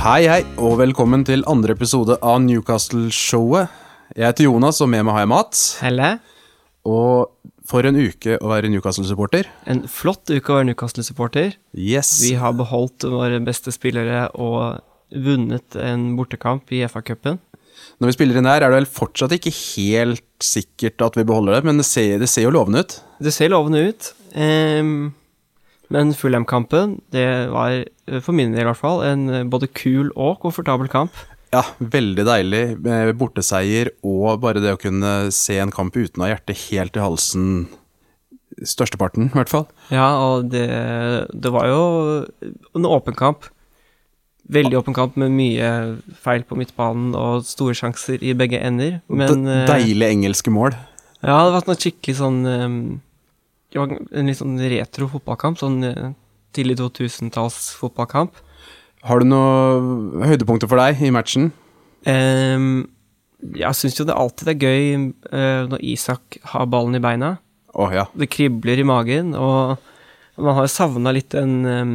Hei, hei, og velkommen til andre episode av Newcastle-showet. Jeg heter Jonas, og med meg har jeg Mats. Helle, Og for en uke å være Newcastle-supporter. en flott uke å være Newcastle-supporter. Yes. Vi har beholdt våre beste spillere og vunnet en bortekamp i FA-cupen. Når vi spiller inn her, er det vel fortsatt ikke helt sikkert at vi beholder det, men det ser, det ser jo lovende ut. Det ser lovende ut, ehm, men Fulham-kampen, det var eh, for min del i hvert fall en eh, både kul og komfortabel kamp. Ja, veldig deilig med borteseier og bare det å kunne se en kamp uten å ha hjertet helt i halsen. Størsteparten, i hvert fall. Ja, og det, det var jo en åpen kamp. Veldig åpen kamp med mye feil på midtbanen og store sjanser i begge ender, men De- eh, Deilige engelske mål. Ja, det var sånn skikkelig sånn um, Det var en litt sånn retro fotballkamp. Sånn eh, tidlig 2000-talls fotballkamp. Har du noen høydepunkter for deg i matchen? Ehm, jeg syns jo det alltid er gøy eh, når Isak har ballen i beina. Å ja. Det kribler i magen, og man har jo savna litt den, ehm,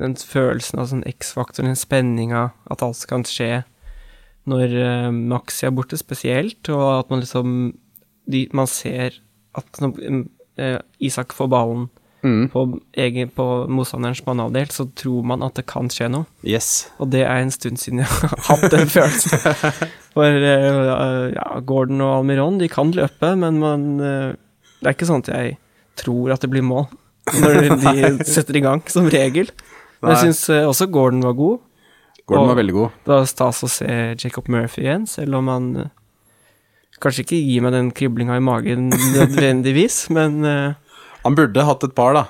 den følelsen av sånn X-faktoren, den spenninga, at alt kan skje når eh, Maxi er borte, spesielt, og at man liksom de, Man ser at når eh, Isak får ballen Mm. på, egen, på motstanderens banehalvdel, så tror man at det kan skje noe. Yes. Og det er en stund siden jeg har hatt den følelsen. For eh, ja, Gordon og Almiron, de kan løpe, men man, eh, det er ikke sånn at jeg tror at det blir mål når de setter i gang, som regel. Men jeg syns eh, også Gordon var god. Gordon var Og- veldig god. Det var stas å se Jacob Murphy igjen, selv om han eh, kanskje ikke gir meg den kriblinga i magen nødvendigvis, men eh, Han burde hatt et par, da.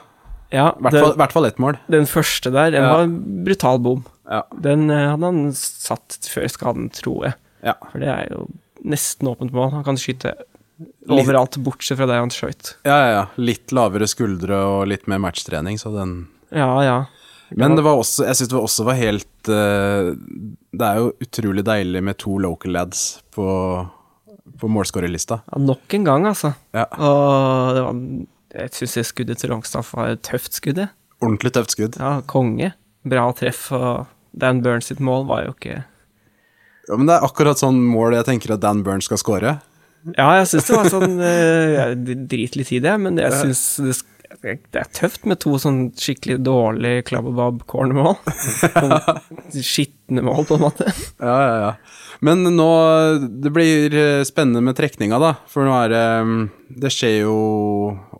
ja. I hvert det- fall, hvert fall ett mål. Den første der, den Ja. var en brutal bom. Ja. Den eh, hadde han satt før skaden, tror jeg. Ja. For det er jo nesten åpent mål. Han kan skyte Litt- overalt, bortsett fra der han skøyt. ja, ja, ja. Litt lavere skuldre og litt mer matchtrening, så den Ja, ja. Men det var også, jeg syns det var også var helt eh, Det er jo utrolig deilig med to local lads på, på målskårerlista. ja nok en gang, altså. Ja. Og det var, jeg syns det skuddet til Rongstad var et tøft skudd, jeg. Ordentlig tøft skudd. Ja, konge. Bra treff, og Dan Burns sitt mål var jo ikke Ja, men det er akkurat sånn mål jeg tenker at Dan Burns skal skåre. Ja, jeg syns det var sånn eh, Jeg driter litt i det, men jeg syns det, sk- det er tøft med to sånn skikkelig dårlig klabbebab-cornermål. Sånn Skitne mål, på en måte. Ja, ja, ja. Men nå Det blir eh, spennende med trekninga, da. For nå er det mm, Det skjer jo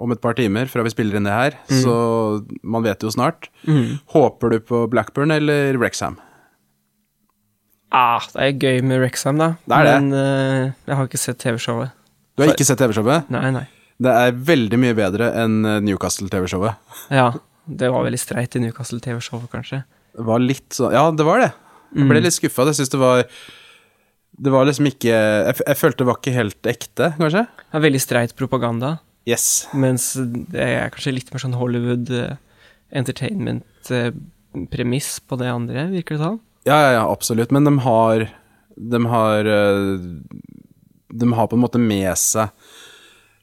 om et par timer fra vi spiller inn det her, så man vet jo snart. Håper du på Blackburn eller Wrexham? Ah, det er gøy med Rexham, da. Det er det. Men eh, jeg har ikke sett TV-showet. Du har ikke sett TV-showet? Nei, nei. Det er veldig mye bedre enn eh, Newcastle-TV-showet. Ja, det var veldig streit i Newcastle-TV-showet, kanskje. Det var litt sånn Ja, det var det. Jeg ble litt skuffa. Jeg syns det var Det var liksom ikke jeg, f- jeg følte det var ikke helt ekte, kanskje? Det er veldig streit propaganda, Yes. mens det er kanskje litt mer sånn Hollywood eh, entertainment-premiss på det andre, virker det som. Ja, ja, ja, absolutt. Men de har De har eh, De har på en måte med seg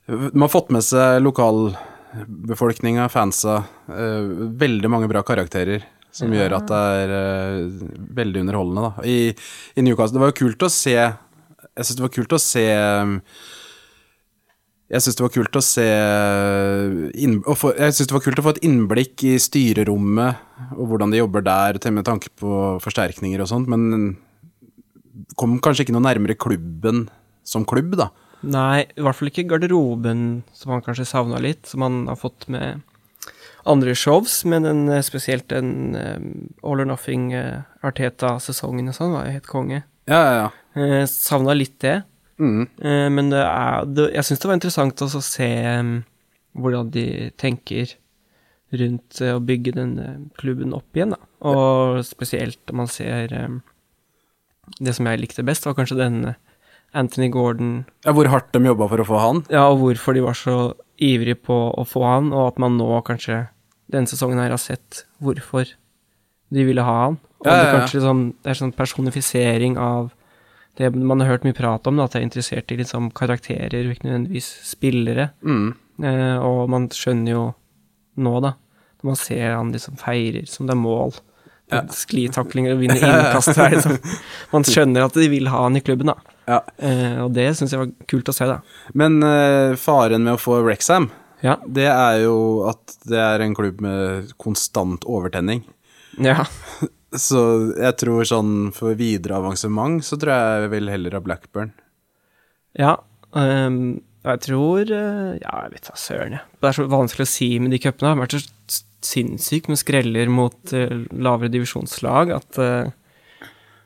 De har fått med seg lokalbefolkninga, fansa. eh, Veldig mange bra karakterer. Som gjør at det er eh, veldig underholdende, da. I, I Newcastle Det var jo kult å se Jeg syns det var kult å se eh, jeg syns det var kult å se inn, å få, Jeg synes det var kult å få et innblikk i styrerommet og hvordan de jobber der, til med tanke på forsterkninger og sånt, men kom kanskje ikke noe nærmere klubben som klubb, da. Nei, i hvert fall ikke garderoben, som han kanskje savna litt, som han har fått med andre shows, men en, eh, spesielt den eh, All or Nothing eh, Arteta-sesongen og sånn var jo helt konge. Ja, ja, ja. Uh, savna litt det, Mm. eh, men det er, det, jeg syns det var interessant også å se eh, hvordan de tenker rundt eh, å bygge den eh, klubben opp igjen, da. Og spesielt når man ser eh, Det som jeg likte best, var kanskje den eh, Anthony Gordon ja hvor hardt de jobba for å få han. ja, og hvorfor de var så ivrige på å få han, og at man nå kanskje denne sesongen her har sett hvorfor de ville ha han. Og Ja, ja, det ja. kanskje liksom, det er sånn personifisering av det man har hørt mye prat om, da, at jeg er interessert i liksom karakterer, ikke nødvendigvis spillere. Mm. Eh, og man skjønner jo nå, da, når man ser han liksom feirer som det er mål Sklitaklinger og vinne innkast. Det er liksom. Man skjønner at de vil ha han i klubben, da. Ja. Eh, og det syns jeg var kult å se, da. Men eh, faren med å få Rexham, Ja. det er jo at det er en klubb med konstant overtenning. ja. Så jeg tror sånn for videre avansement, så tror jeg jeg vil heller ha Blackburn. Ja, ehm, og jeg tror eh, Ja, jeg vet da søren, jeg. Det er så vanskelig å si med de cupene. Det har vært så s- sinnssykt med skreller mot eh, lavere divisjonslag at eh,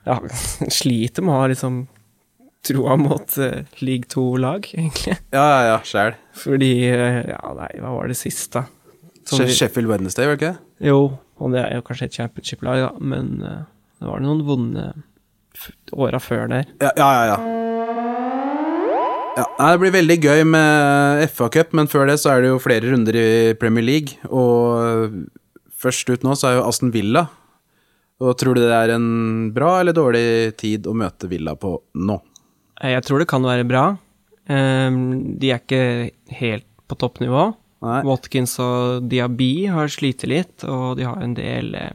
Ja, sliter med å ha liksom troa mot eh, league 2-lag, egentlig. Ja, ja, ja, sjæl. Fordi eh, Ja, nei, hva var det siste, da? Som vi- Sånn Sheffield Wednesday, var det ikke det? Jo, og det er jo kanskje et championship-lag, da, men eh, det var noen vonde f- åra før der. Ja, ja, ja. ja. ja nei, det blir veldig gøy med FA-cup, men før det så er det jo flere runder i Premier League. Og først ut nå så er jo Aston Villa. Og tror du det er en bra eller dårlig tid å møte Villa på nå? Eh, Jeg tror det kan være bra. Ehm, De er ikke helt på toppnivå. Nei. Watkins og Diaby har slitt litt, og de har en del eh,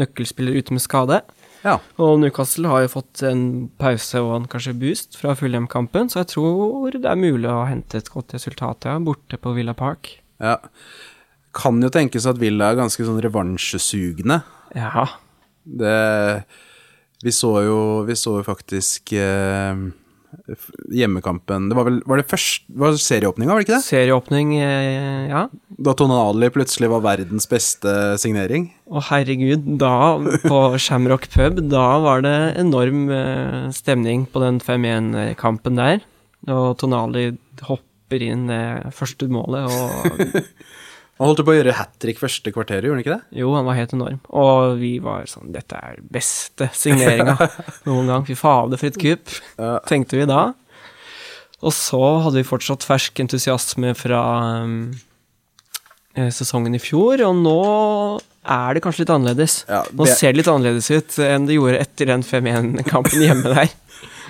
nøkkelspillere ute med skade. Ja. Og Newcastle har jo fått en pause og en kanskje boost fra Fulham-kampen, så jeg tror det er mulig å hente et godt resultat ja, borte på Villa Park. ja. Kan jo tenkes at Villa er ganske sånn revansjesugne. Ja, Det Vi så jo, vi så jo faktisk eh, f- hjemmekampen Det var vel var det først, var det serieåpninga, var det ikke det? serieåpning, eh, ja. Da Tonali plutselig var verdens beste signering. Å herregud, da på Shamrock pub, da var det enorm eh, stemning på den 5-1-kampen der. Og Tonali hopper inn det første målet, og Han holdt jo på å gjøre hat trick første kvarteret, gjorde han ikke det? jo, han var helt enorm. Og vi var sånn Dette er den beste signeringa noen gang. Fy fader, for et kupp, tenkte vi da. Og så hadde vi fortsatt fersk entusiasme fra um, eh, sesongen i fjor, og nå er det kanskje litt annerledes. Ja, Nå det- ser det litt annerledes ut enn det gjorde etter den 5-1-kampen hjemme der.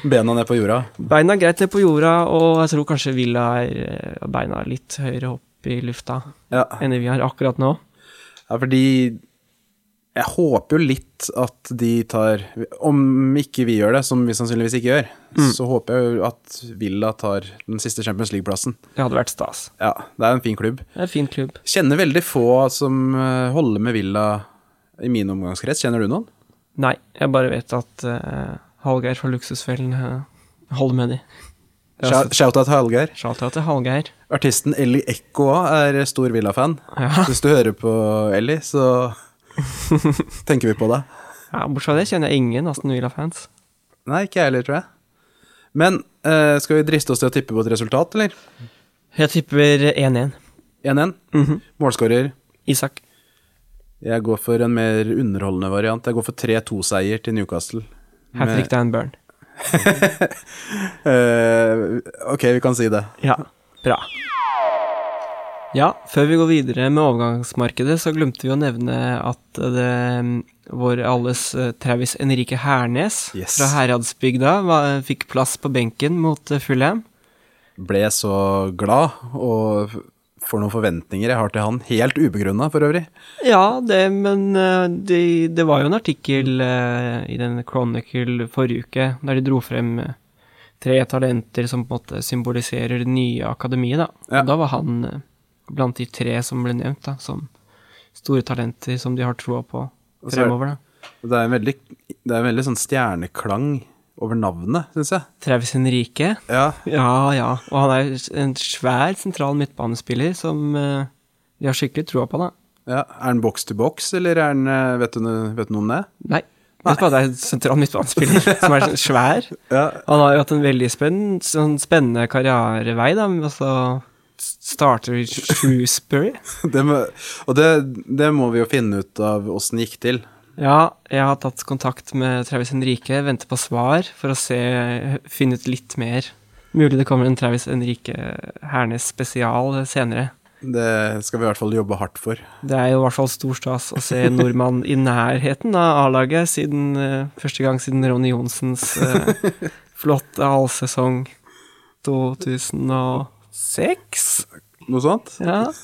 Bena ned på jorda. Beina er greit ned på jorda, og jeg tror kanskje Villa er eh, beina litt høyere opp i lufta Ja, enn det vi har akkurat nå. ja fordi jeg håper jo litt at de tar Om ikke vi gjør det, som vi sannsynligvis ikke gjør, så håper jeg jo at Villa tar den siste Champions League-plassen. Det hadde vært stas. Ja, det er en fin klubb. Det er en fin klubb. Kjenner veldig få som eh, holder med Villa i min omgangskrets. Kjenner du noen? Nei, jeg bare vet at eh, Hallgeir fra Luksusfellen eh, holder med de. Shout- Shout-out Hallgeir. Shout-out til Hallgeir. Artisten Ellie Echo også er stor Villa-fan. Ja. Hvis du hører på Ellie, så tenker vi på deg. Ja, bortsett fra det kjenner jeg ingen Aston Villa-fans. Nei, ikke jeg heller, tror jeg. Men eh, skal vi driste oss til å tippe på et resultat, eller? Jeg tipper 1-1. 1-1. Målskårer. Isak. Jeg går for en mer underholdende variant. Jeg går for 3-2-seier til Newcastle. Hat Med- trick Dan Burn. Eh, ok, vi kan si det. Ja, bra. Ja, før vi går videre med overgangsmarkedet, så glemte vi å nevne at det mm, vår alles eh, Travis Enrique Hernes Yes. fra Heradsbygda var, fikk plass på benken mot eh, Fulham. Ble så glad, og for noen forventninger jeg har til han. Helt ubegrunna, for øvrig. Ja, det, men eh, de, det var jo en artikkel eh, i den Chronicle forrige uke, der de dro frem eh, tre talenter som på en måte symboliserer det nye akademiet, da. Ja. Og da var han eh, blant de tre som ble nevnt, da, som store talenter som de har troa på Og så er- fremover, da. Det er en veldig, det er en veldig sånn stjerneklang over navnet, syns jeg. Travis Henrique. Ja, Ja, ja. Og han er en svær sentral midtbanespiller som eh, de har skikkelig troa på, da. Ja, Er den box to box, eller er den, eh, vet, du, no- vet du noe om det? Nei. Vet du hva, det er en sentral midtbanespiller som er svær. Ja. Han har jo hatt en veldig spenn- sånn spennende karrierevei, da. men Altså, s- starter i Shrewsbury. Det må, og det, det må vi jo finne ut av åssen gikk til. Ja, jeg har tatt kontakt med Travis Henrique, venter på svar for å se, finne ut litt mer. Mulig det kommer en Travis Henrique Hernes spesial senere. Det skal vi i hvert fall jobbe hardt for. Det er jo i hvert fall stor stas å se en nordmann i nærheten av A-laget, siden eh, første gang siden Ronny Johnsens eh, flotte halvsesong 2006. Noe sånt? Ja.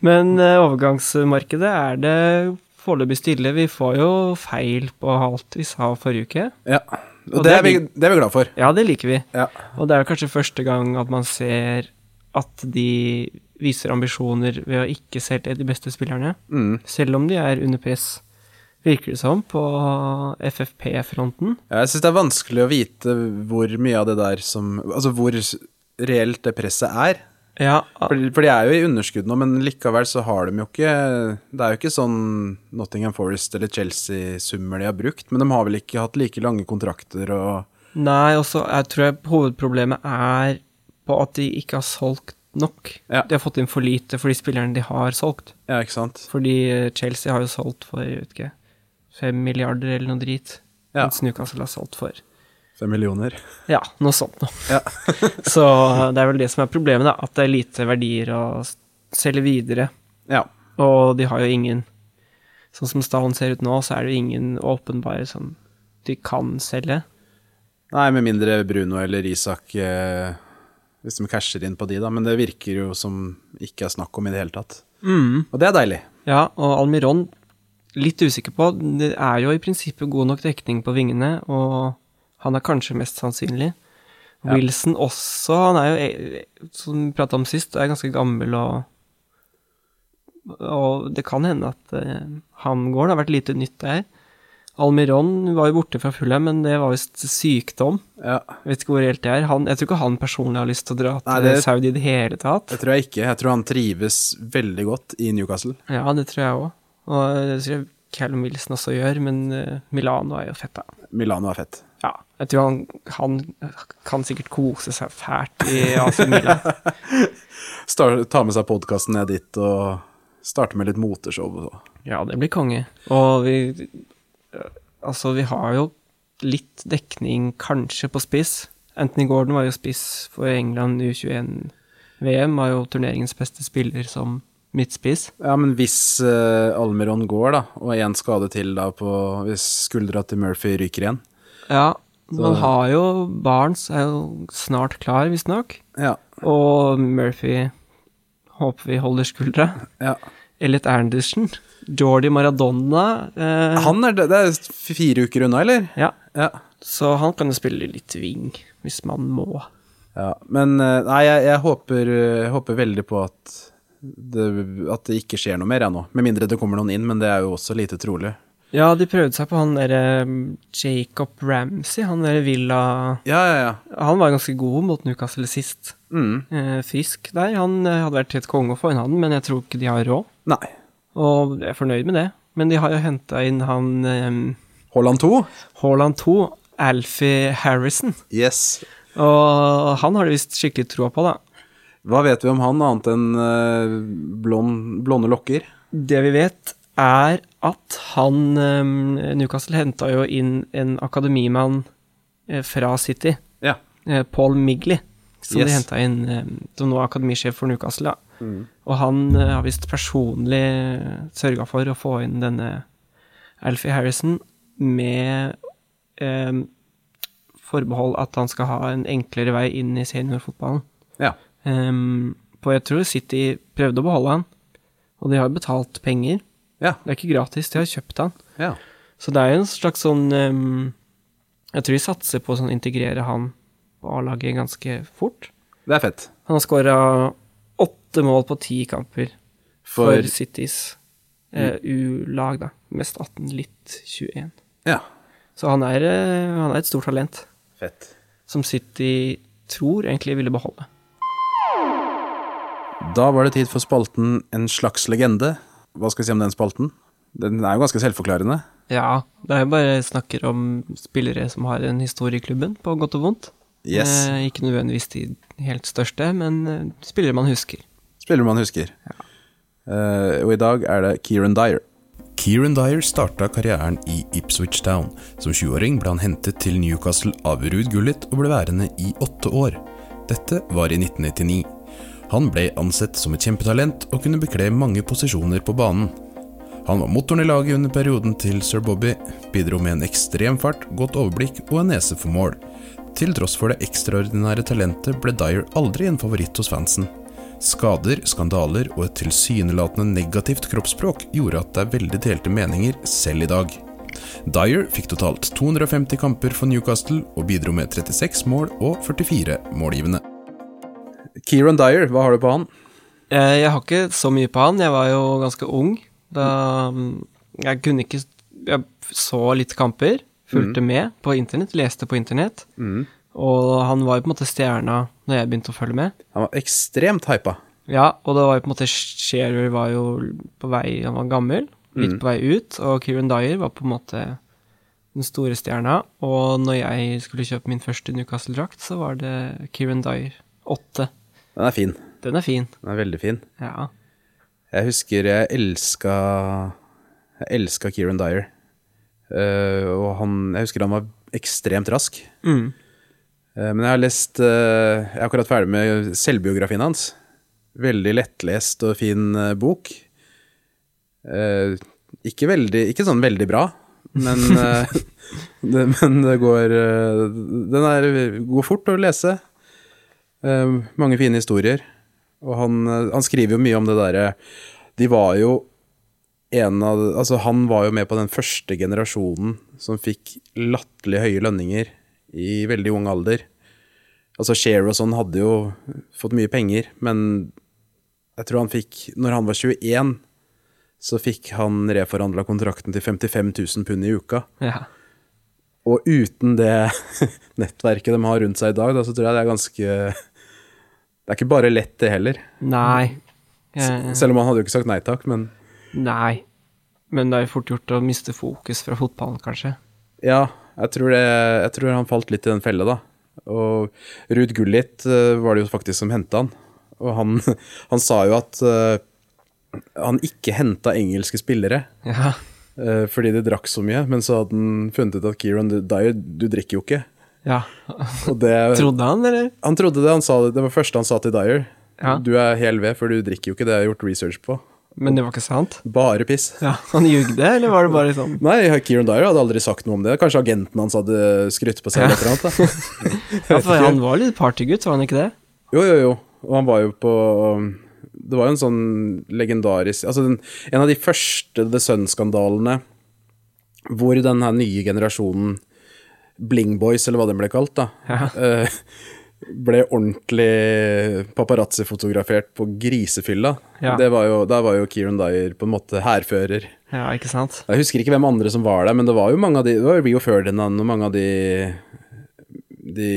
Men eh, overgangsmarkedet er det foreløpig stille. Vi får jo feil på alt vi sa forrige uke. Ja. Og, Og det, det er vi, det er vi glad for. Ja, det liker vi. Ja. Og det er jo kanskje første gang at man ser at de viser ambisjoner ved å ikke selge de beste spillerne, Mm. selv om de er under press, virker det som, på FFP-fronten. Ja, Jeg syns det er vanskelig å vite hvor mye av det der som Altså hvor s- reelt det presset er. Ja, For, for de er jo i underskudd nå, men likevel så har de jo ikke Det er jo ikke sånn Nottingham Forest eller Chelsea-summer de har brukt, men de har vel ikke hatt like lange kontrakter og Nei, og så er- tror jeg hovedproblemet er på at de ikke har solgt nok. Ja. De har fått inn for lite for de spillerne de har solgt. Ja, ikke sant? Fordi eh, Chelsea har jo solgt for jeg vet ikke, fem milliarder eller noe drit. Ja. Mens Newcastle har solgt for Fem millioner. ja, noe sånt noe. Ja. så eh, det er vel det som er problemet, da. At det er lite verdier å s- selge videre. Ja. Og de har jo ingen Sånn som stallen ser ut nå, så er det jo ingen åpenbare som de kan selge. Nei, med mindre Bruno eller Isak eh, Hvis de casher inn på de, da. Men det virker jo som ikke er snakk om i det hele tatt. Mm. Og det er deilig. Ja, og Almiron litt usikker på. Det er jo i prinsippet god nok dekning på vingene, og han er kanskje mest sannsynlig. Ja. Wilson også, han er jo, eh, som vi prata om sist, er ganske gammel og Og det kan hende at eh, han går, det har vært lite nytt der. Almiron var jo borte fra Fulham, men det var visst sykdom. Ja. Jeg vet ikke hvor reelt det er. Han, jeg tror ikke han personlig har lyst til å dra til Nei, det- Saudi i det hele tatt. Det tror jeg ikke. Jeg tror han trives veldig godt i Newcastle. Ja, det tror jeg òg. Og det tror jeg Callum Wilson også gjør, men eh, Milano er jo fett, da. Milano er fett. Ja, jeg tror han, han kan sikkert kose seg fælt i AC Milan. Star ta med seg podkasten ned dit og starte med litt moteshow. og så. ja, det blir konge. Og vi eh, Altså, vi har jo litt dekning kanskje på spiss. Anthony Gordon var jo spiss for England U21-VM, var jo turneringens beste spiller som midtspiss. Ja, men hvis eh, Almeron går, da, og én skade til da på Hvis skuldra til Murphy ryker igjen Ja, man Så- har jo Barnes er jo snart klar, visstnok. Ja. Og Murphy håper vi holder skuldra. ja. Elliot Anderson. Jordi Maradona. Eh, Han er, det er fire uker unna, eller? Ja, Ja. så han kan jo spille litt wing, hvis man må. ja. Men eh, nei, jeg, jeg håper, eh, håper veldig på at det, at det ikke skjer noe mer, jeg nå. Med mindre det kommer noen inn, men det er jo også lite trolig. Ja, de prøvde seg på han derre mm, Jacob Ramsey, han derre Villa Ja, ja, ja. Han var ganske god mot Newcastle sist. Mm. Eh, frisk der. Han eh, hadde vært helt konge å få inn han, men jeg tror ikke de har råd. Nei. Og jeg er fornøyd med det. Men de har jo henta inn han eh, Haaland 2? Haaland 2, Alfie Harrison. Yes. Og han har de visst skikkelig troa på, da. Hva vet vi om han, annet enn eh, blond, blonde lokker? Det vi vet, er at han eh, Newcastle henta jo inn en akademimann eh, fra City, Ja. eh, Paul Migley, som de Yes. henta inn eh, som nå er akademisjef for Newcastle. da. Og han eh, har visst personlig sørga for å få inn denne Alfie Harrison med eh, forbehold at han skal ha en enklere vei inn i seniorfotballen. Ja. Ehm, på jeg tror City prøvde å beholde han, og de har jo betalt penger. Ja. Det er ikke gratis, de har kjøpt han. ja. Så det er jo en slags sånn ehm, Jeg tror de satser på å sånn integrere han på A-laget ganske fort. Det er fett. Han har skåra åtte mål på ti kamper for, For, Citys eh, U-lag, da. Mest 18, litt 21. Ja. Så han er, eh, han er et stort talent Fett. som City tror egentlig ville beholde. Da var det tid for spalten En slags legende. Hva skal vi si om den spalten? Den er jo ganske selvforklarende. Ja, det er jo bare snakker om spillere som har en historie i klubben, på godt og vondt. Yes. Eh, ikke nødvendigvis de helt største, men eh, spillere man husker. Spiller man husker. Eh, og i dag er det Kieran Dyer. Kieran Dyer starta karrieren i Ipswich Town. Som 20-åring ble han hentet til Newcastle av Ruud Gullit og ble værende i åtte år. Dette var i 1999. Han ble ansett som et kjempetalent og kunne bekle mange posisjoner på banen. Han var motoren i laget under perioden til sir Bobby, bidro med en ekstrem fart, godt overblikk og en nese for mål. Til tross for det ekstraordinære talentet ble Dyer aldri en favoritt hos fansen. Skader, skandaler og et tilsynelatende negativt kroppsspråk gjorde at det er veldig delte meninger selv i dag. Dyer fikk totalt 250 kamper for Newcastle og bidro med 36 mål og 44 målgivende. Kieran Dyer, hva har du på han? Eh, Jeg har ikke så mye på han. Jeg var jo ganske ung. Da mm, Jeg kunne ikke Jeg så litt kamper. Fulgte med på internett, leste på internett. Og han var jo på en måte stjerna når jeg begynte å følge med. Han var ekstremt hypa. Ja, og det var jo på en måte Shearer var jo på vei Han var gammel, litt på vei ut, og Kieran Dyer var på en måte den store stjerna. Og når jeg skulle kjøpe min første Newcastle-drakt, så var det Kieran Dyer 8. Den er fin. Den er fin. Den er veldig fin. Ja. Jeg husker jeg elska Jeg elska Kieran Dyer. Eh, og han Jeg husker han var ekstremt rask. Mm. Eh, men jeg har lest eh, Jeg er akkurat ferdig med selvbiografien hans. Veldig lettlest og fin eh, bok. Eh, ikke veldig Ikke sånn veldig bra, men eh, det, Men det går eh, Den er, går fort å lese. Eh, mange fine historier. Og han, eh, han skriver jo mye om det derre De var jo en av Altså, han var jo med på den første generasjonen som fikk latterlig høye lønninger i veldig ung alder. Altså, Cher og sånn hadde jo fått mye penger, men jeg tror han fikk Når han var 21, så fikk han reforhandla kontrakten til 55 000 pund i uka. ja. Og uten det nettverket de har rundt seg i dag, da, så tror jeg det er ganske Det er ikke bare lett, det heller. Nei. Eh, Selv om han hadde jo ikke sagt nei takk, men nei. Men det er jo fort gjort å miste fokus fra fotballen, kanskje. ja, jeg tror, det, jeg tror han falt litt i den fella, da. Og Ruud Gullit eh, var det jo faktisk som henta han. Og han, han sa jo at eh, han ikke henta engelske spillere Ja. eh, fordi de drakk så mye, men så hadde han funnet ut at Kieran Dyer, du drikker jo ikke. ja. Og det, Trodde han, eller? Han trodde det, han sa det, det var det første han sa til Dyer. Ja. Du er hel ved, for du drikker jo ikke det jeg har gjort research på. Men det var ikke sant? Bare piss. Ja, Han ljugde, eller var det bare sånn Nei, Kieran Dyer hadde aldri sagt noe om det. Kanskje agenten hans hadde skrytt på seg eller et eller annet. da. ja, for Han var litt partygutt, var han ikke det? Jo, jo, jo. Og han var jo på um, Det var jo en sånn legendarisk Altså den, en av de første The Sun-skandalene hvor den her nye generasjonen Bling Boys, eller hva den ble kalt, da, eh, ble ordentlig paparazzi-fotografert på grisefylla. Ja. Det var jo, der var jo Kieran Dyer på en måte hærfører. Ja, ikke sant? Jeg husker ikke hvem andre som var der, men det var jo mange av de Det var jo Rio Ferdinand og mange av de, de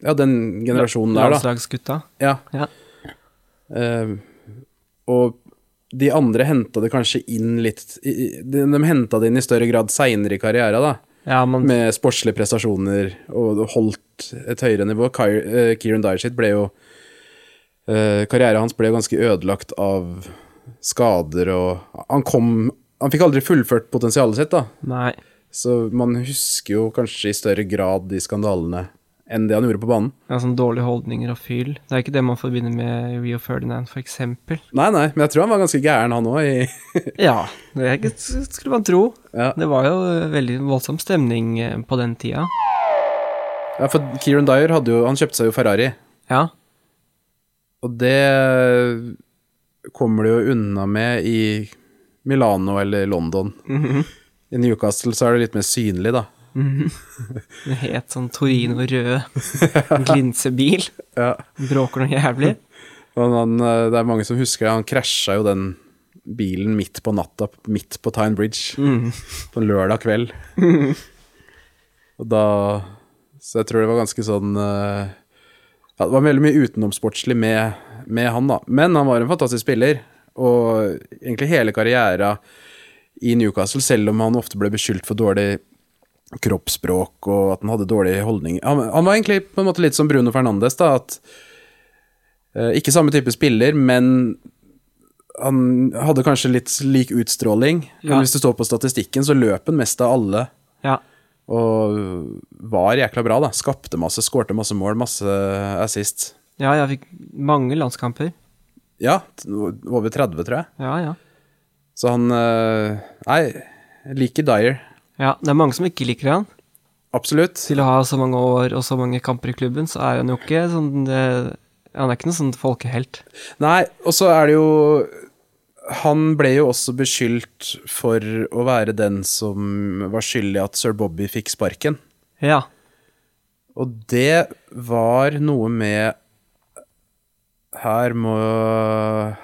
Ja, den generasjonen der, da. Landslagsgutta. Ja. Ja. Eh, og de andre henta det kanskje inn litt i- i- De, de henta det inn i større grad seinere i karriera, da. Ja, man, Med sportslige prestasjoner og holdt et høyere nivå. Ky eh, Kieran Dyer sitt ble jo uh, Karrieren hans ble jo ganske ødelagt av skader og Han kom Han fikk aldri fullført potensialet sitt, da. nei. Så man husker jo kanskje i større grad de skandalene enn det han gjorde på banen. Ja, sånn Dårlige holdninger og fyll. Det er ikke det man forbinder med Rio Ferdinand, for eksempel. Nei, nei, men jeg tror han var ganske gæren, han òg, i Ja, det er ikke, skulle man tro. Ja. Det var jo eh, veldig voldsom stemning eh, på den tida. Ja, for Kieran Dyer hadde jo, han kjøpte seg jo Ferrari, Ja, og det kommer du jo unna med i Milano eller London. I Newcastle så er det litt mer synlig, da. en het sånn Torino rød glinsebil. Ja. Bråker noe jævlig. Og han, eh, det er mange som husker det, han krasja jo den bilen midt på natta, midt på Tyne Bridge, på en lørdag kveld. Og da Så jeg tror det var ganske sånn eh, Ja, det var veldig mye utenomsportslig med, med han, da. Men han var en fantastisk spiller, og egentlig hele karriera i Newcastle, selv om han ofte ble beskyldt for dårlig kroppsspråk og at han hadde dårlig holdning. Han, han var egentlig på en måte litt som Bruno Fernandes, da, at Eh, Ikke samme type spiller, men han hadde kanskje litt lik utstråling. Men Ja. hvis du står på statistikken, så løp han mest av alle. Ja. Og var jækla bra, da. Skapte masse, skårte masse mål, masse assist. ja, jeg fikk mange landskamper. Ja, t- over 30, tror jeg. Ja, ja. Så han eh, Nei, jeg liker Dyer. Ja, Det er mange som ikke liker han. Absolutt. Til å ha så mange år og så mange kamper i klubben, så er han jo ikke sånn eh, Han er ikke noen sånn folkehelt. Nei, og så er det jo Han ble jo også beskyldt for å være den som var skyldig at sir Bobby fikk sparken. Ja. Og det var noe med Her må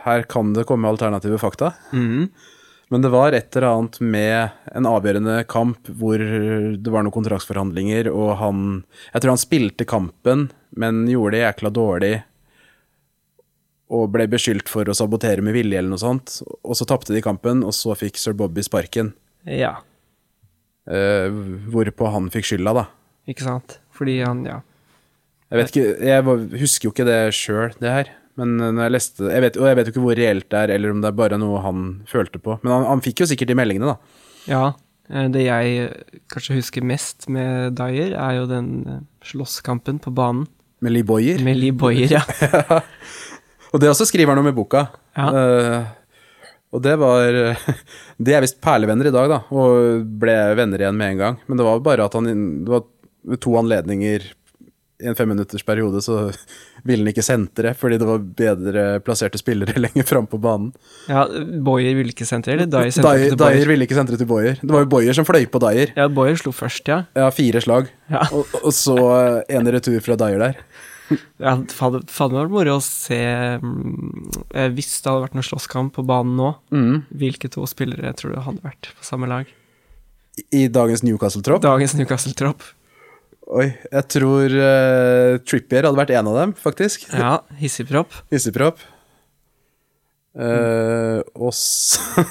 Her kan det komme alternative fakta. Men det var et eller annet med en avgjørende kamp hvor det var noen kontraktsforhandlinger, og han Jeg tror han spilte kampen, men gjorde det jækla dårlig. Og ble beskyldt for å sabotere med vilje eller noe sånt. Og så tapte de kampen, og så fikk sir Bobby sparken. Ja. Eh, hvorpå han fikk skylda, da. Ikke sant? Fordi han, ja. Jeg vet ikke, jeg var- husker jo ikke det sjøl, det her. Men eh, når jeg leste jeg vet, Og jeg vet jo ikke hvor reelt det er, eller om det er bare noe han følte på. Men han, han fikk jo sikkert de meldingene, da. Ja. eh, Det jeg eh, kanskje husker mest med Dyer, er jo den eh, slåsskampen på banen Med Lee Boyer. med Lee Boyer, ja. Mm. Og det også skriver han om i boka. Ja. Eh, og det var De er visst perlevenner i dag, da, og ble venner igjen med en gang. Men det var bare at han Det var ved to anledninger i en femminuttersperiode så ville han ikke sentre fordi det var bedre plasserte spillere lenger fram på banen. ja Boyer ville ikke sentre, eller Dyer sentra Dyer, ikke til Boyer. Dyer ville ikke sentre til Boyer. Det var jo Boyer som fløy på Dyer. Ja, Boyer slo først, ja. Ja, fire slag. Ja. Og, og så eh, en retur fra Dyer der. Ja, det hadde det hadde vært moro å se mm, eh, Hvis det hadde vært noen slåsskamp på banen nå, Mm. hvilke to spillere tror du hadde vært på samme lag? I dagens Newcastle-tropp. Dagens Newcastle-tropp. Oi, jeg tror eh, Trippier hadde vært en av dem, faktisk. Ja, hissigpropp. Hissigpropp. Eh, og så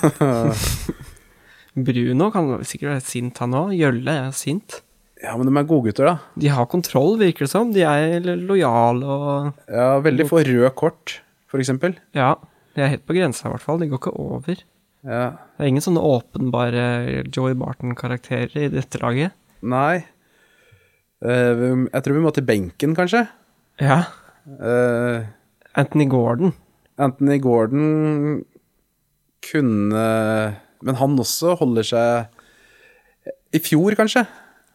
Bruno kan sikkert være sint, han òg. Gjølle er sint. Ja, men de er godgutter, da. De har kontroll, virker det som. De er lojale og Ja, veldig få røde kort, for eksempel. Ja, de er helt på grensa, i hvert fall. De går ikke over. Ja. Det er ingen sånne åpenbare Joey Barton-karakterer i dette laget. Nei. Eh, vi- jeg tror vi må til benken, kanskje. Ja. Eh, Anthony Gordon. Anthony Gordon kunne Men han også holder seg I fjor, kanskje?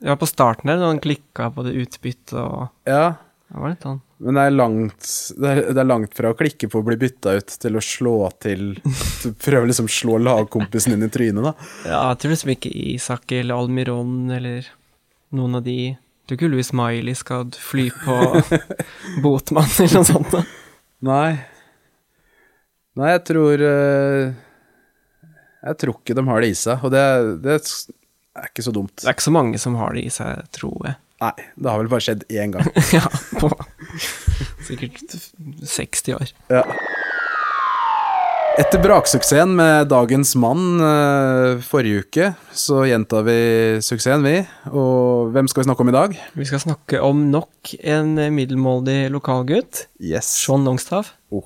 Ja, på starten der, da han klikka på det utbyttet og Ja. Det var litt sånn Men det er, langt, det, er, det er langt fra å klikke på å bli bytta ut til å slå til Du prøver liksom å slå lagkompisen din i trynet, da. Ja, jeg tror liksom ikke Isak eller Almiron eller noen av de Jeg tror ikke Louis Miley skal fly på Botmann eller noe sånt. da. Nei. Nei, jeg tror eh, Jeg tror ikke de har det i seg, og det, det er ikke så dumt. Det er ikke så mange som har det i seg, tror jeg. Nei, det har vel bare skjedd én gang. Ja, på sikkert 60 år. Ja. Etter braksuksessen med Dagens Mann eh, forrige uke, så gjentar vi suksessen, vi. Og hvem skal vi snakke om i dag? Vi skal snakke om nok en middelmådig lokalgutt. Yes. Sean Longstaff. Oh.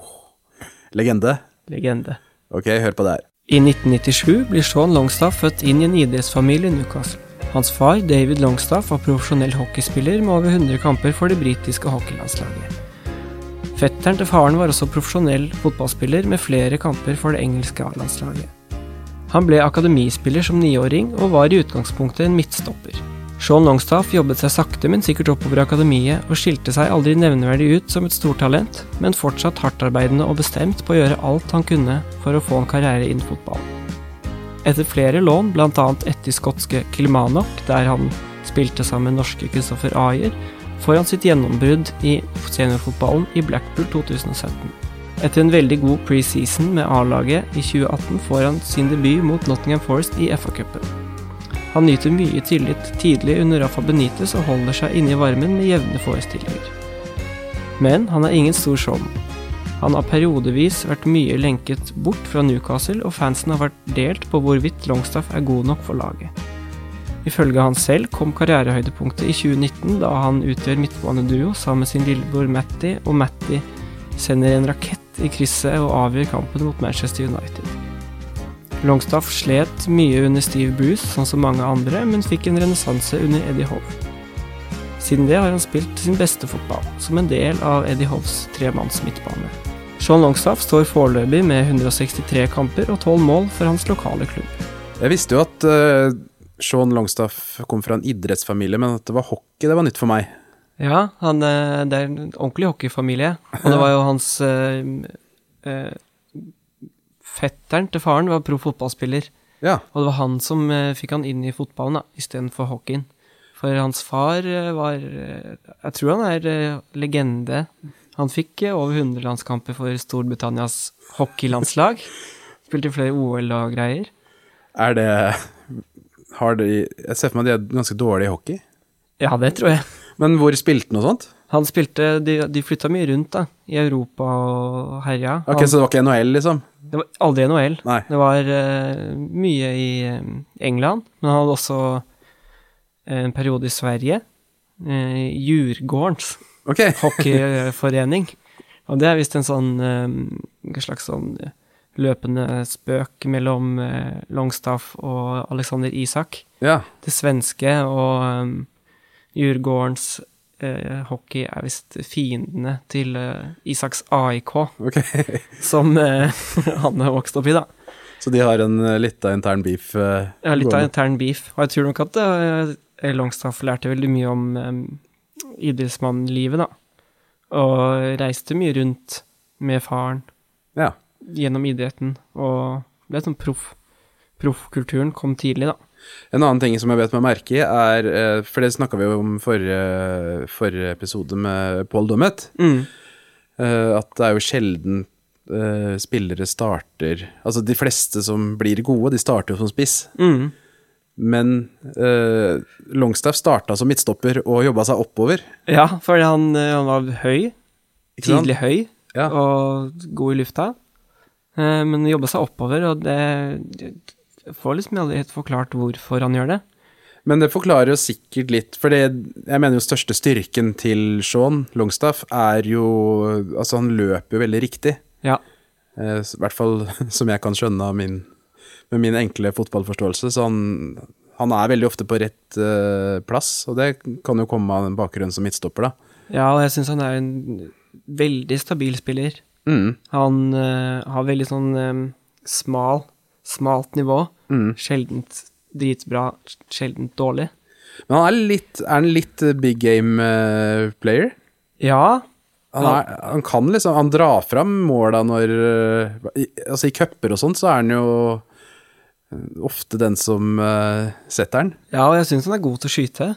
Legende. Legende. Ok, hør på det her. I 1997 blir Sean Longstaff født inn i en idrettsfamilie i Newcastle. Hans far, David Longstaff, var profesjonell hockeyspiller med over 100 kamper for det britiske hockeylandslaget. Fetteren til faren var også profesjonell fotballspiller med flere kamper for det engelske A-landslaget. Han ble akademispiller som niåring, og var i utgangspunktet en midtstopper. Sean Longstaff jobbet seg sakte, men sikkert oppover i akademiet, og skilte seg aldri nevneverdig ut som et stortalent, men fortsatt hardtarbeidende og bestemt på å gjøre alt han kunne for å få en karriere innen fotball. Etter flere lån, bl.a. etter skotske Kilmarnock, der han spilte sammen med norske Kristoffer Ayer, får han sitt gjennombrudd i seniorfotballen i Blackpool 2017. Etter en veldig god preseason med A-laget i 2018 får han sin debut mot Nottingham Forest i FA-cupen. Han nyter mye tillit tidlig under Rafa Benitez og holder seg inne i varmen med jevne forestillinger. Men han er ingen stor showman. Han har periodevis vært mye lenket bort fra Newcastle, og fansen har vært delt på hvorvidt Longstaff er god nok for laget. Ifølge han selv kom karrierehøydepunktet i 2019, da han utgjør midtbaneduo sammen med sin lillebror Matty, og Matty sender en rakett i krysset og avgjør kampen mot Manchester United. Longstaff slet mye under Steve Bruce, sånn som mange andre, men fikk en renessanse under Eddie Hove. Siden det har han spilt sin beste fotball, som en del av Eddie Hoves tremanns midtbane. Sean Longstaff står foreløpig med 163 kamper og 12 mål for hans lokale klubb. Jeg visste jo at eh, Sean Longstaff kom fra en idrettsfamilie, men at det var hockey, det var nytt for meg. Ja, han, eh, det er en ordentlig hockeyfamilie. Og det var jo hans eh, eh, Fetteren til faren var proff fotballspiller, Ja. og det var han som eh, fikk han inn i fotballen da, istedenfor hockeyen. For hans far eh, var eh, Jeg tror han er eh, legende. Han fikk eh, over 100 landskamper for Storbritannias hockeylandslag. Spilte i flere OL og greier. Er det har de, Jeg ser for meg de er ganske dårlige i hockey. Ja, det tror jeg. Men hvor spilte han og sånt? Han spilte De, de flytta mye rundt, da. I Europa og herja. Ok, Han- Så det var ikke NHL, liksom? Det var aldri NHL. Nei. Det var eh, mye i eh, England, men han hadde også eh, en periode i Sverige. Uh, Djurgårdens Ok. hockeyforening. Og det er visst en sånn eh, en slags sånn løpende spøk mellom eh, Longstaff og Alexander Isak. Ja. Det svenske og um, Djurgårdens eh, hockey er visst fiendene til eh, Isaks AIK, Ok. som eh, han har vokst opp i, da. Så de har en eh, litt av intern beef? eh, Ja, litt av gående. intern beef. Og jeg tror nok at eh, Longstaff lærte veldig mye om eh, idrettsmannlivet, da. Og reiste mye rundt med faren Ja. gjennom idretten, og ble sånn proff. Proffkulturen kom tidlig, da. En annen ting som jeg vet meg merke i, er eh, For det snakka vi jo om forrige, forrige episode med Paul Dummet. eh, at det er jo sjelden eh, spillere starter Altså, de fleste som blir gode, de starter jo som spiss. Mm. Men eh, Longstaff starta som midtstopper og jobba seg oppover. Ja, fordi han, eh, han var høy. Ikke sant? Tidlig høy, Ja. og god i lufta. Eh, Men jobba seg oppover, og det jeg Får liksom aldri helt forklart hvorfor han gjør det. Men det forklarer jo sikkert litt, for det, jeg mener jo største styrken til Sean Longstaff er jo Altså, han løper jo veldig riktig. Ja. Eh, s- I hvert fall som jeg kan skjønne av min, med min enkle fotballforståelse. Så han, han er veldig ofte på rett eh, plass, og det kan jo komme av den bakgrunnen som midtstopper, da. Ja, og jeg syns han er en veldig stabil spiller. Mm, Han eh, har veldig sånn eh, smal, smalt nivå. mm. Sjeldent dritbra, sjeldent dårlig. Men han er litt, er han litt eh, big game eh, player. Ja, Han, er, han kan liksom Han drar fram måla når eh, i, Altså, i cuper og sånt, så er han jo eh, ofte den som eh, setter den. ja og jeg syns han er god til å skyte.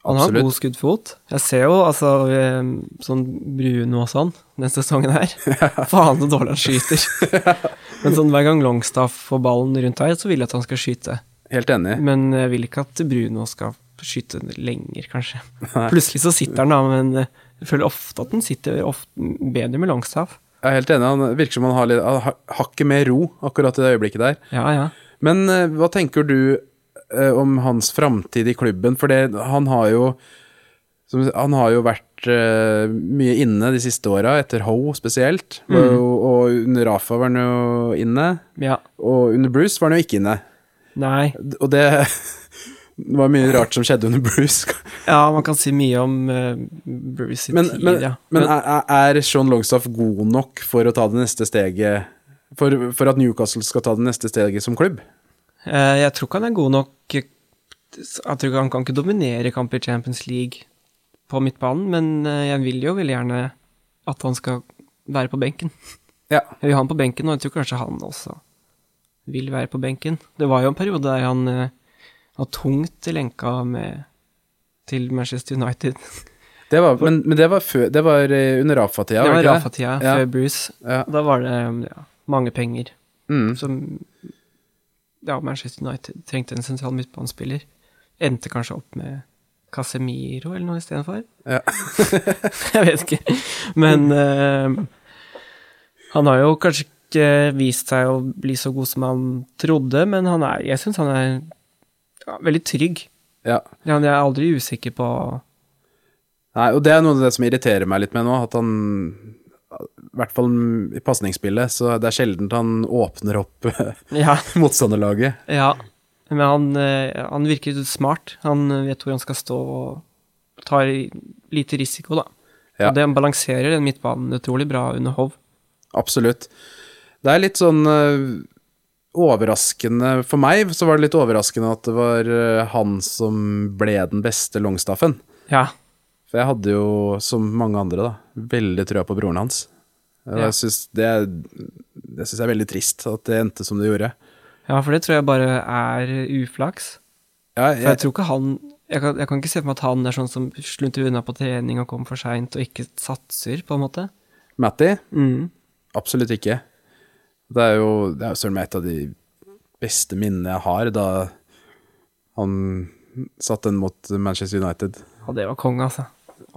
Han har god skuddfot. Jeg ser jo altså eh, sånn Bruno og sånn den sesongen her. Faen så dårlig han skyter. Men sånn hver gang Longstaff får ballen rundt her, så vil jeg at han skal skyte. Helt enig. Men jeg vil ikke at Bruno skal skyte lenger, kanskje. Plutselig så sitter han da, men eh, jeg føler ofte at han sitter ofte bedre med longstaff. Jeg er helt enig. Han virker som han har litt han har- hakket mer ro akkurat i det øyeblikket der. Ja, ja. Men eh, hva tenker du eh, om hans framtid i klubben? For det, han har jo som, Han har jo vært eh, mye inne de siste åra, etter Ho spesielt. Var jo, og under Rafa var han jo inne. ja. Og under Bruce var han jo ikke inne. Nei. D- Og det var mye rart som skjedde under Bruce. Ja, man kan si mye om eh, Bruce i Men, tid, men, ja. men er, er Sean Longstaff god nok for å ta det neste steget for, for at Newcastle skal ta det neste steget som klubb? Eh, jeg tror ikke han er god nok Jeg tror ikke han kan ikke dominere kamp i Champions League på midtbanen, men eh, jeg vil jo veldig gjerne at han skal være på benken. Ja. Jeg vil ha han på benken, og jeg tror kanskje han også vil være på benken. Det var jo en periode der han eh, var tungt i lenka med, til Manchester United. Det var, men, men det var, før, det var eh, under Rafa-tida, det var var det ikke det? Rafa-tida Ja. før Bruce. Ja. Da var det um, ja, mange penger Mm. som Ja, Manchester United trengte en sentral midtbanespiller. Endte kanskje opp med Casemiro eller noe istedenfor. Ja. jeg vet ikke. Men eh, han har jo kanskje ikke vist seg å bli så god som han trodde, men han er, jeg syns han er ja, veldig trygg. Ja. Han er aldri usikker på Nei, og det er noe av det som irriterer meg litt med nå, at han i hvert fall i pasningsspillet, så det er sjelden han åpner opp Ja, motstanderlaget. ja. men han, eh, han virker smart. Han vet hvor han skal stå og tar lite risiko, da. Ja. Og det balanserer den midtbanen utrolig bra under Hov. Absolutt. Det er litt sånn øh, overraskende For meg så var det eh, litt overraskende at det var øh, han som ble den beste longstaffen. Ja. For jeg hadde jo, som mange andre, da, veldig trua på broren hans. Og Ja. jeg synes det, det syns jeg er veldig trist at det endte som det gjorde. Ja, for det tror jeg bare er uflaks. Ja, For jeg jeg, tror ikke han jeg kan, jeg kan ikke se for meg at han er sånn som slunter unna på trening og kommer for seint og ikke satser, på en måte. Matti? Mm. Absolutt ikke. Det er jo, det er jo søren meg et av de beste minnene jeg har, da han satt den mot Manchester United. Ja, det var konge, altså.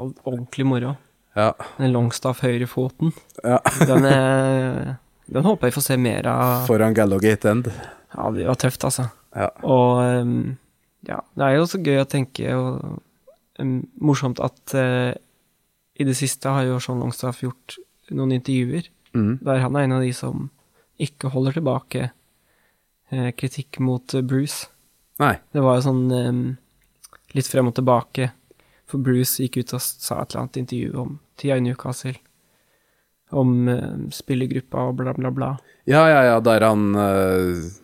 Ord- Ordentlig moro. Ja, Den longstaff høyrefoten. ja. Den, er- den håper jeg får se mer av. foran Gallogate End. Ja, det var tøft, altså. Ja. Og ehm, ja, det er jo så gøy å tenke, og ehm, morsomt at eh, i det siste har jo Sean Longstaff gjort noen intervjuer Mm. der han er en av de som ikke holder tilbake eh, kritikk mot eh, Bruce. Nei. Det var jo sånn ehm, litt frem og tilbake, for Bruce gikk ut og s- sa et eller annet intervju om tida i Newcastle, om ehm, spillergruppa og bla, bla, bla. Ja, ja, ja, der han eh,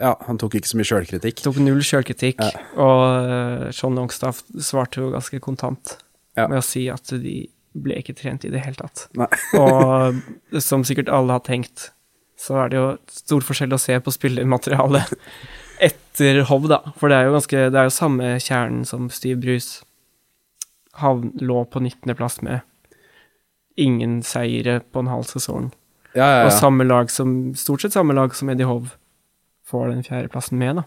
Ja, han tok ikke så mye sjølkritikk. Tok null sjølkritikk, Ja. og eh, Sean Longstaff svarte jo ganske kontant Ja. med å si at de ble ikke trent i det hele tatt. Nei. og som sikkert alle har tenkt, så er det jo stor forskjell å se på spillermaterialet etter Hov, da. For det er jo ganske Det er jo samme kjernen som Steve Bruce havn, lå på 19.-plass med. Ingen seire på en halv sesong. Ja, ja, Og ja. samme lag som, stort sett samme lag som Eddie Hov får den fjerdeplassen med, da.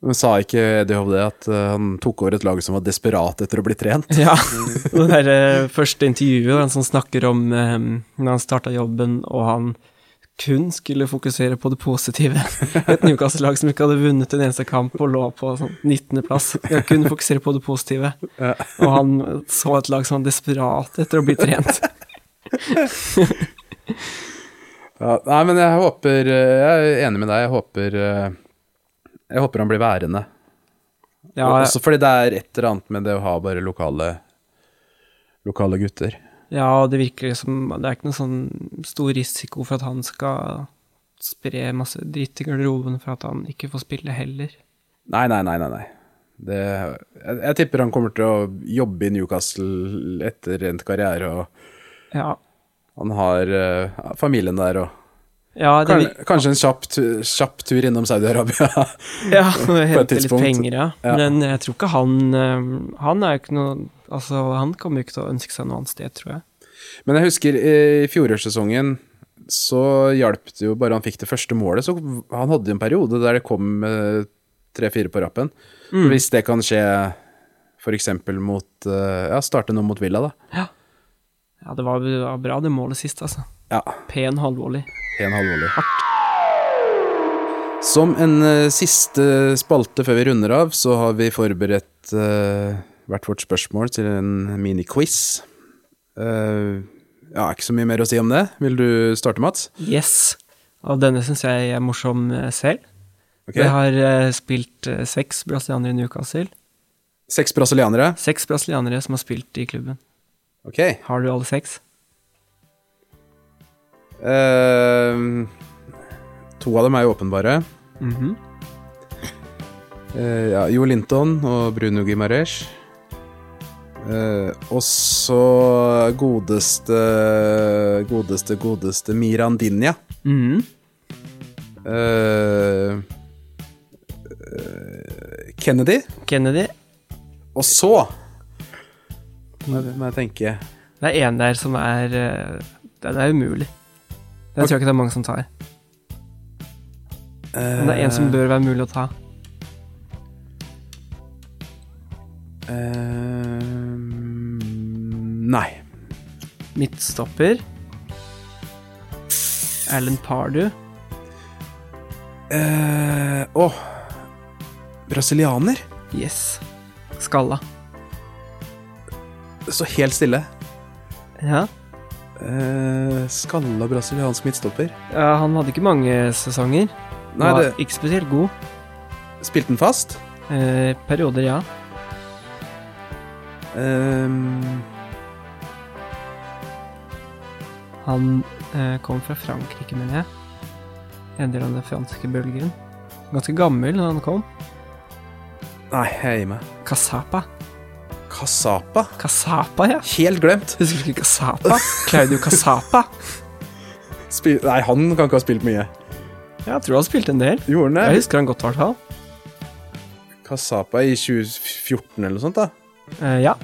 Men sa ikke Eddie Hov det, at eh, han tok over et lag som var desperat etter å bli trent? Ja, og det der, eh, første intervjuet, han som snakker om eh, når han starta jobben, og han kun skulle fokusere på det positive. Et Newcastle-lag som ikke hadde vunnet en eneste kamp og lå på sånn 19.-plass. Han kunne fokusere på det positive, Ja. og han så et lag som var desperat etter å bli trent. Ja, nei, men jeg håper eh, Jeg er enig med deg. Jeg håper eh, Jeg håper han blir værende. Ja, Også fordi det er et eller annet med det å ha bare lokale Lokale gutter. ja og det virker som Det er ikke noe sånn stor risiko for at han skal spre masse dritt i garderoben for at han ikke får spille heller. Nei, nei, nei, nei. nei. Det, jeg, jeg tipper han kommer til å jobbe i Newcastle etter endt karriere, og Ja, han har eh, familien der, og ja det kan, vir- kanskje en kjapp, tu- kjapp tur innom Saudi-Arabia. Ja, og hente litt tidspunkt. penger, ja. Ja. Men jeg tror ikke han eh, Han er jo ikke noe Altså, han kommer jo ikke til å ønske seg noe annet sted, tror jeg. Men jeg husker eh, i fjorårssesongen så hjalp det jo bare han fikk det første målet. Så han hadde jo en periode der det kom eh, tre-fire på rappen. Hvis det kan skje f.eks. mot eh, Ja, starte nå mot Villa, da. Ja, det var, det var bra det målet sist, altså. Ja, Pen halvvolley. en halvvolley. Som en eh, siste spalte før vi runder av, så har vi forberedt eh, hvert vårt spørsmål til en mini-quiz. Eh, ja, ikke så mye mer å si om det. Vil du starte, Mats? Yes. Og denne syns jeg er morsom eh, selv. Ok. Jeg har eh, spilt eh, seks brasilianere i Newcastle. Seks brasilianere. Seks brasilianere som har spilt i klubben. Ok. Eh, Har du alle seks? Ehm, to av dem er jo åpenbare. Mhm. Eh, ja, Jo Linton og Bruno Gimares. Eh, og så godeste Godeste, godeste Mirandinha. Mm. Mhm. Eh, eh, Kennedy. Kennedy. Og så må jeg, må jeg tenke Det er en der som er eh, Den er umulig. Den tror jeg ikke det er mange som tar. Men det er en som bør være mulig å ta. Eh, Nei. Midtstopper. Alan Pardew. Eh, Åh Brasilianer? Yes. Skalla. Så helt stille. Ja. Eh, skalla brasiliansk midtstopper. ja. Han hadde ikke mange sesonger. Nei, var det Ikke spesielt god. Spilte den fast? Eh, perioder, ja. Ehm, Han eh, kom fra Frankrike, mener jeg. En del av den franske bølgen. Ganske gammel da han kom. nei, jeg gir meg. Kasapa. Kasapa? Kasapa, ja. Helt glemt. Husker du ikke Kasapa? Claudio Kasapa. Spil Nei, han kan ikke ha spilt mye. Ja, jeg tror han spilte en del. Gjorde han det? Jeg husker han godt, i hvert fall. Kasapa i 2014 eller noe sånt, da. Eh, ja.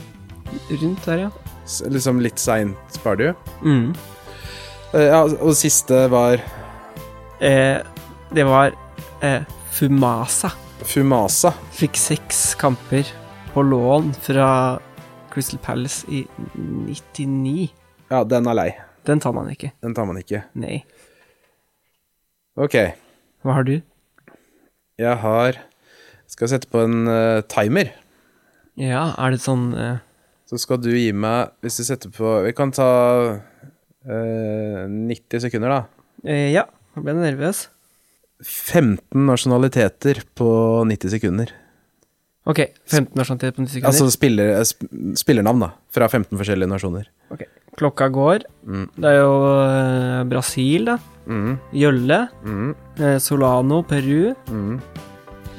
Rundt der, ja. S liksom litt seint party. Mm. Eh, ja, og siste var Eh, det var eh, Fumasa. Fumasa. Fikk seks kamper på lån fra Crystal Palace i 99. Ja, den er lei. Den tar man ikke. Den tar man ikke. Nei. OK, Hva har du? jeg har Skal sette på en eh, timer. Ja, er det sånn eh, Så skal du gi meg Hvis du setter på Vi kan ta eh, 90 sekunder, da. eh, Ja, nå ble jeg nervøs. 15 nasjonaliteter på 90 sekunder. Ok, sånn 15 nasjonalitet på 90 sekunder. Altså spiller, eh, sp- spillernavn, da. Fra 15 forskjellige nasjoner. Ok, Klokka går. Mm. Det er jo eh, Brasil, da. Mm, Gjølle. mm, Eh, Solano, Peru. mm,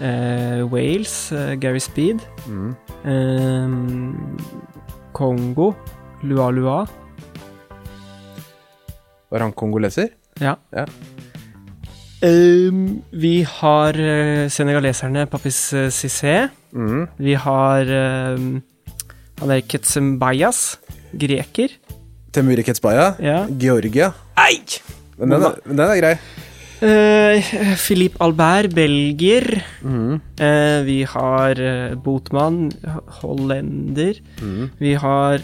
Eh, Wales, eh, Gary Speed. mm. Eh, Kongo, Lualua. Var han kongoleser? Ja. Ja. Ehm, vi har eh, senegaleserne Papis eh, Cissé. Mm. Vi har eh, han der Ketsembayas, greker. Temuri Ketsbaya? Ja. Georgia? Ei! Men den er, men den er grei. Eh, Philippe Albert, belgier. Eh, vi har eh, Botman, hollender. Vi har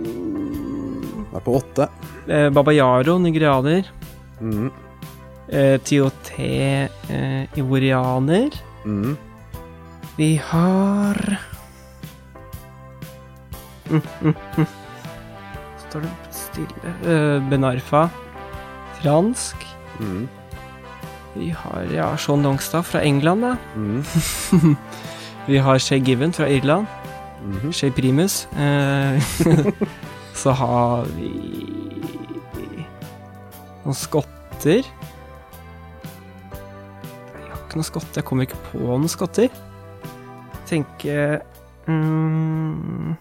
Den er på åtte. eh, Babayaro, nigerianer. Mm. Eh, Tioté, eh, ivorianer. Mm. Vi har Mm, mm, mm. Står det stille Eh, Benarfa, fransk. Mm. Vi har ja, Sean Longstad fra England, da. Mm. Vi har Shay Given fra Irland. Mhm. Shay Primus. Eh, så har vi noen skotter. Jeg har ikke noen skotter. Jeg kommer ikke på noen skotter. Tenke mm,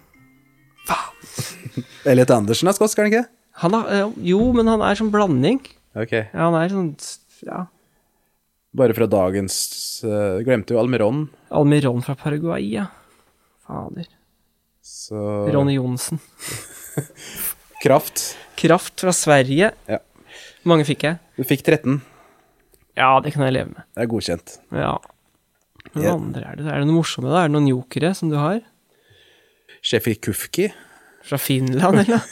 Elliot Andersen er skotsk, er han ikke? han er, eh, Jo, men han er sånn blanding. Ok. Ja, han er sånn ja, Bare fra dagens eh, Glemte jo Almeron, Almiron fra Paraguay, ja. Fader. så Ronny Johnsen. Kraft. Kraft fra Sverige. Ja. Hvor mange fikk jeg? Du fikk 13. Ja, det kan jeg leve med. Det er godkjent. Ja. Men Ja. hva andre er det? Er det noe morsomme, da? Er det noen jokere som du har? Shefi Kufki. Fra Finland, eller?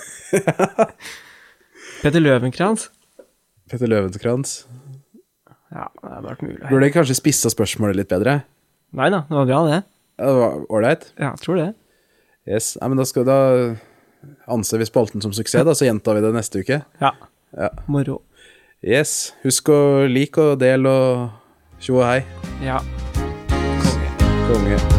Peter Løvenkrantz? Petter Løvenkrantz. Ja, det hadde vært mulig. Burde jeg kanskje spissa spørsmålet litt bedre? Nei da, det var bra, det. Ja, det var Ålreit? Ja, jeg tror det. Yes. Nei, men da, skal, da anser vi spalten som suksess, da, så gjentar vi det neste uke. Ja. Ja. Moro. Yes. Husk å like og del og tjo og hei. Ja. Konge.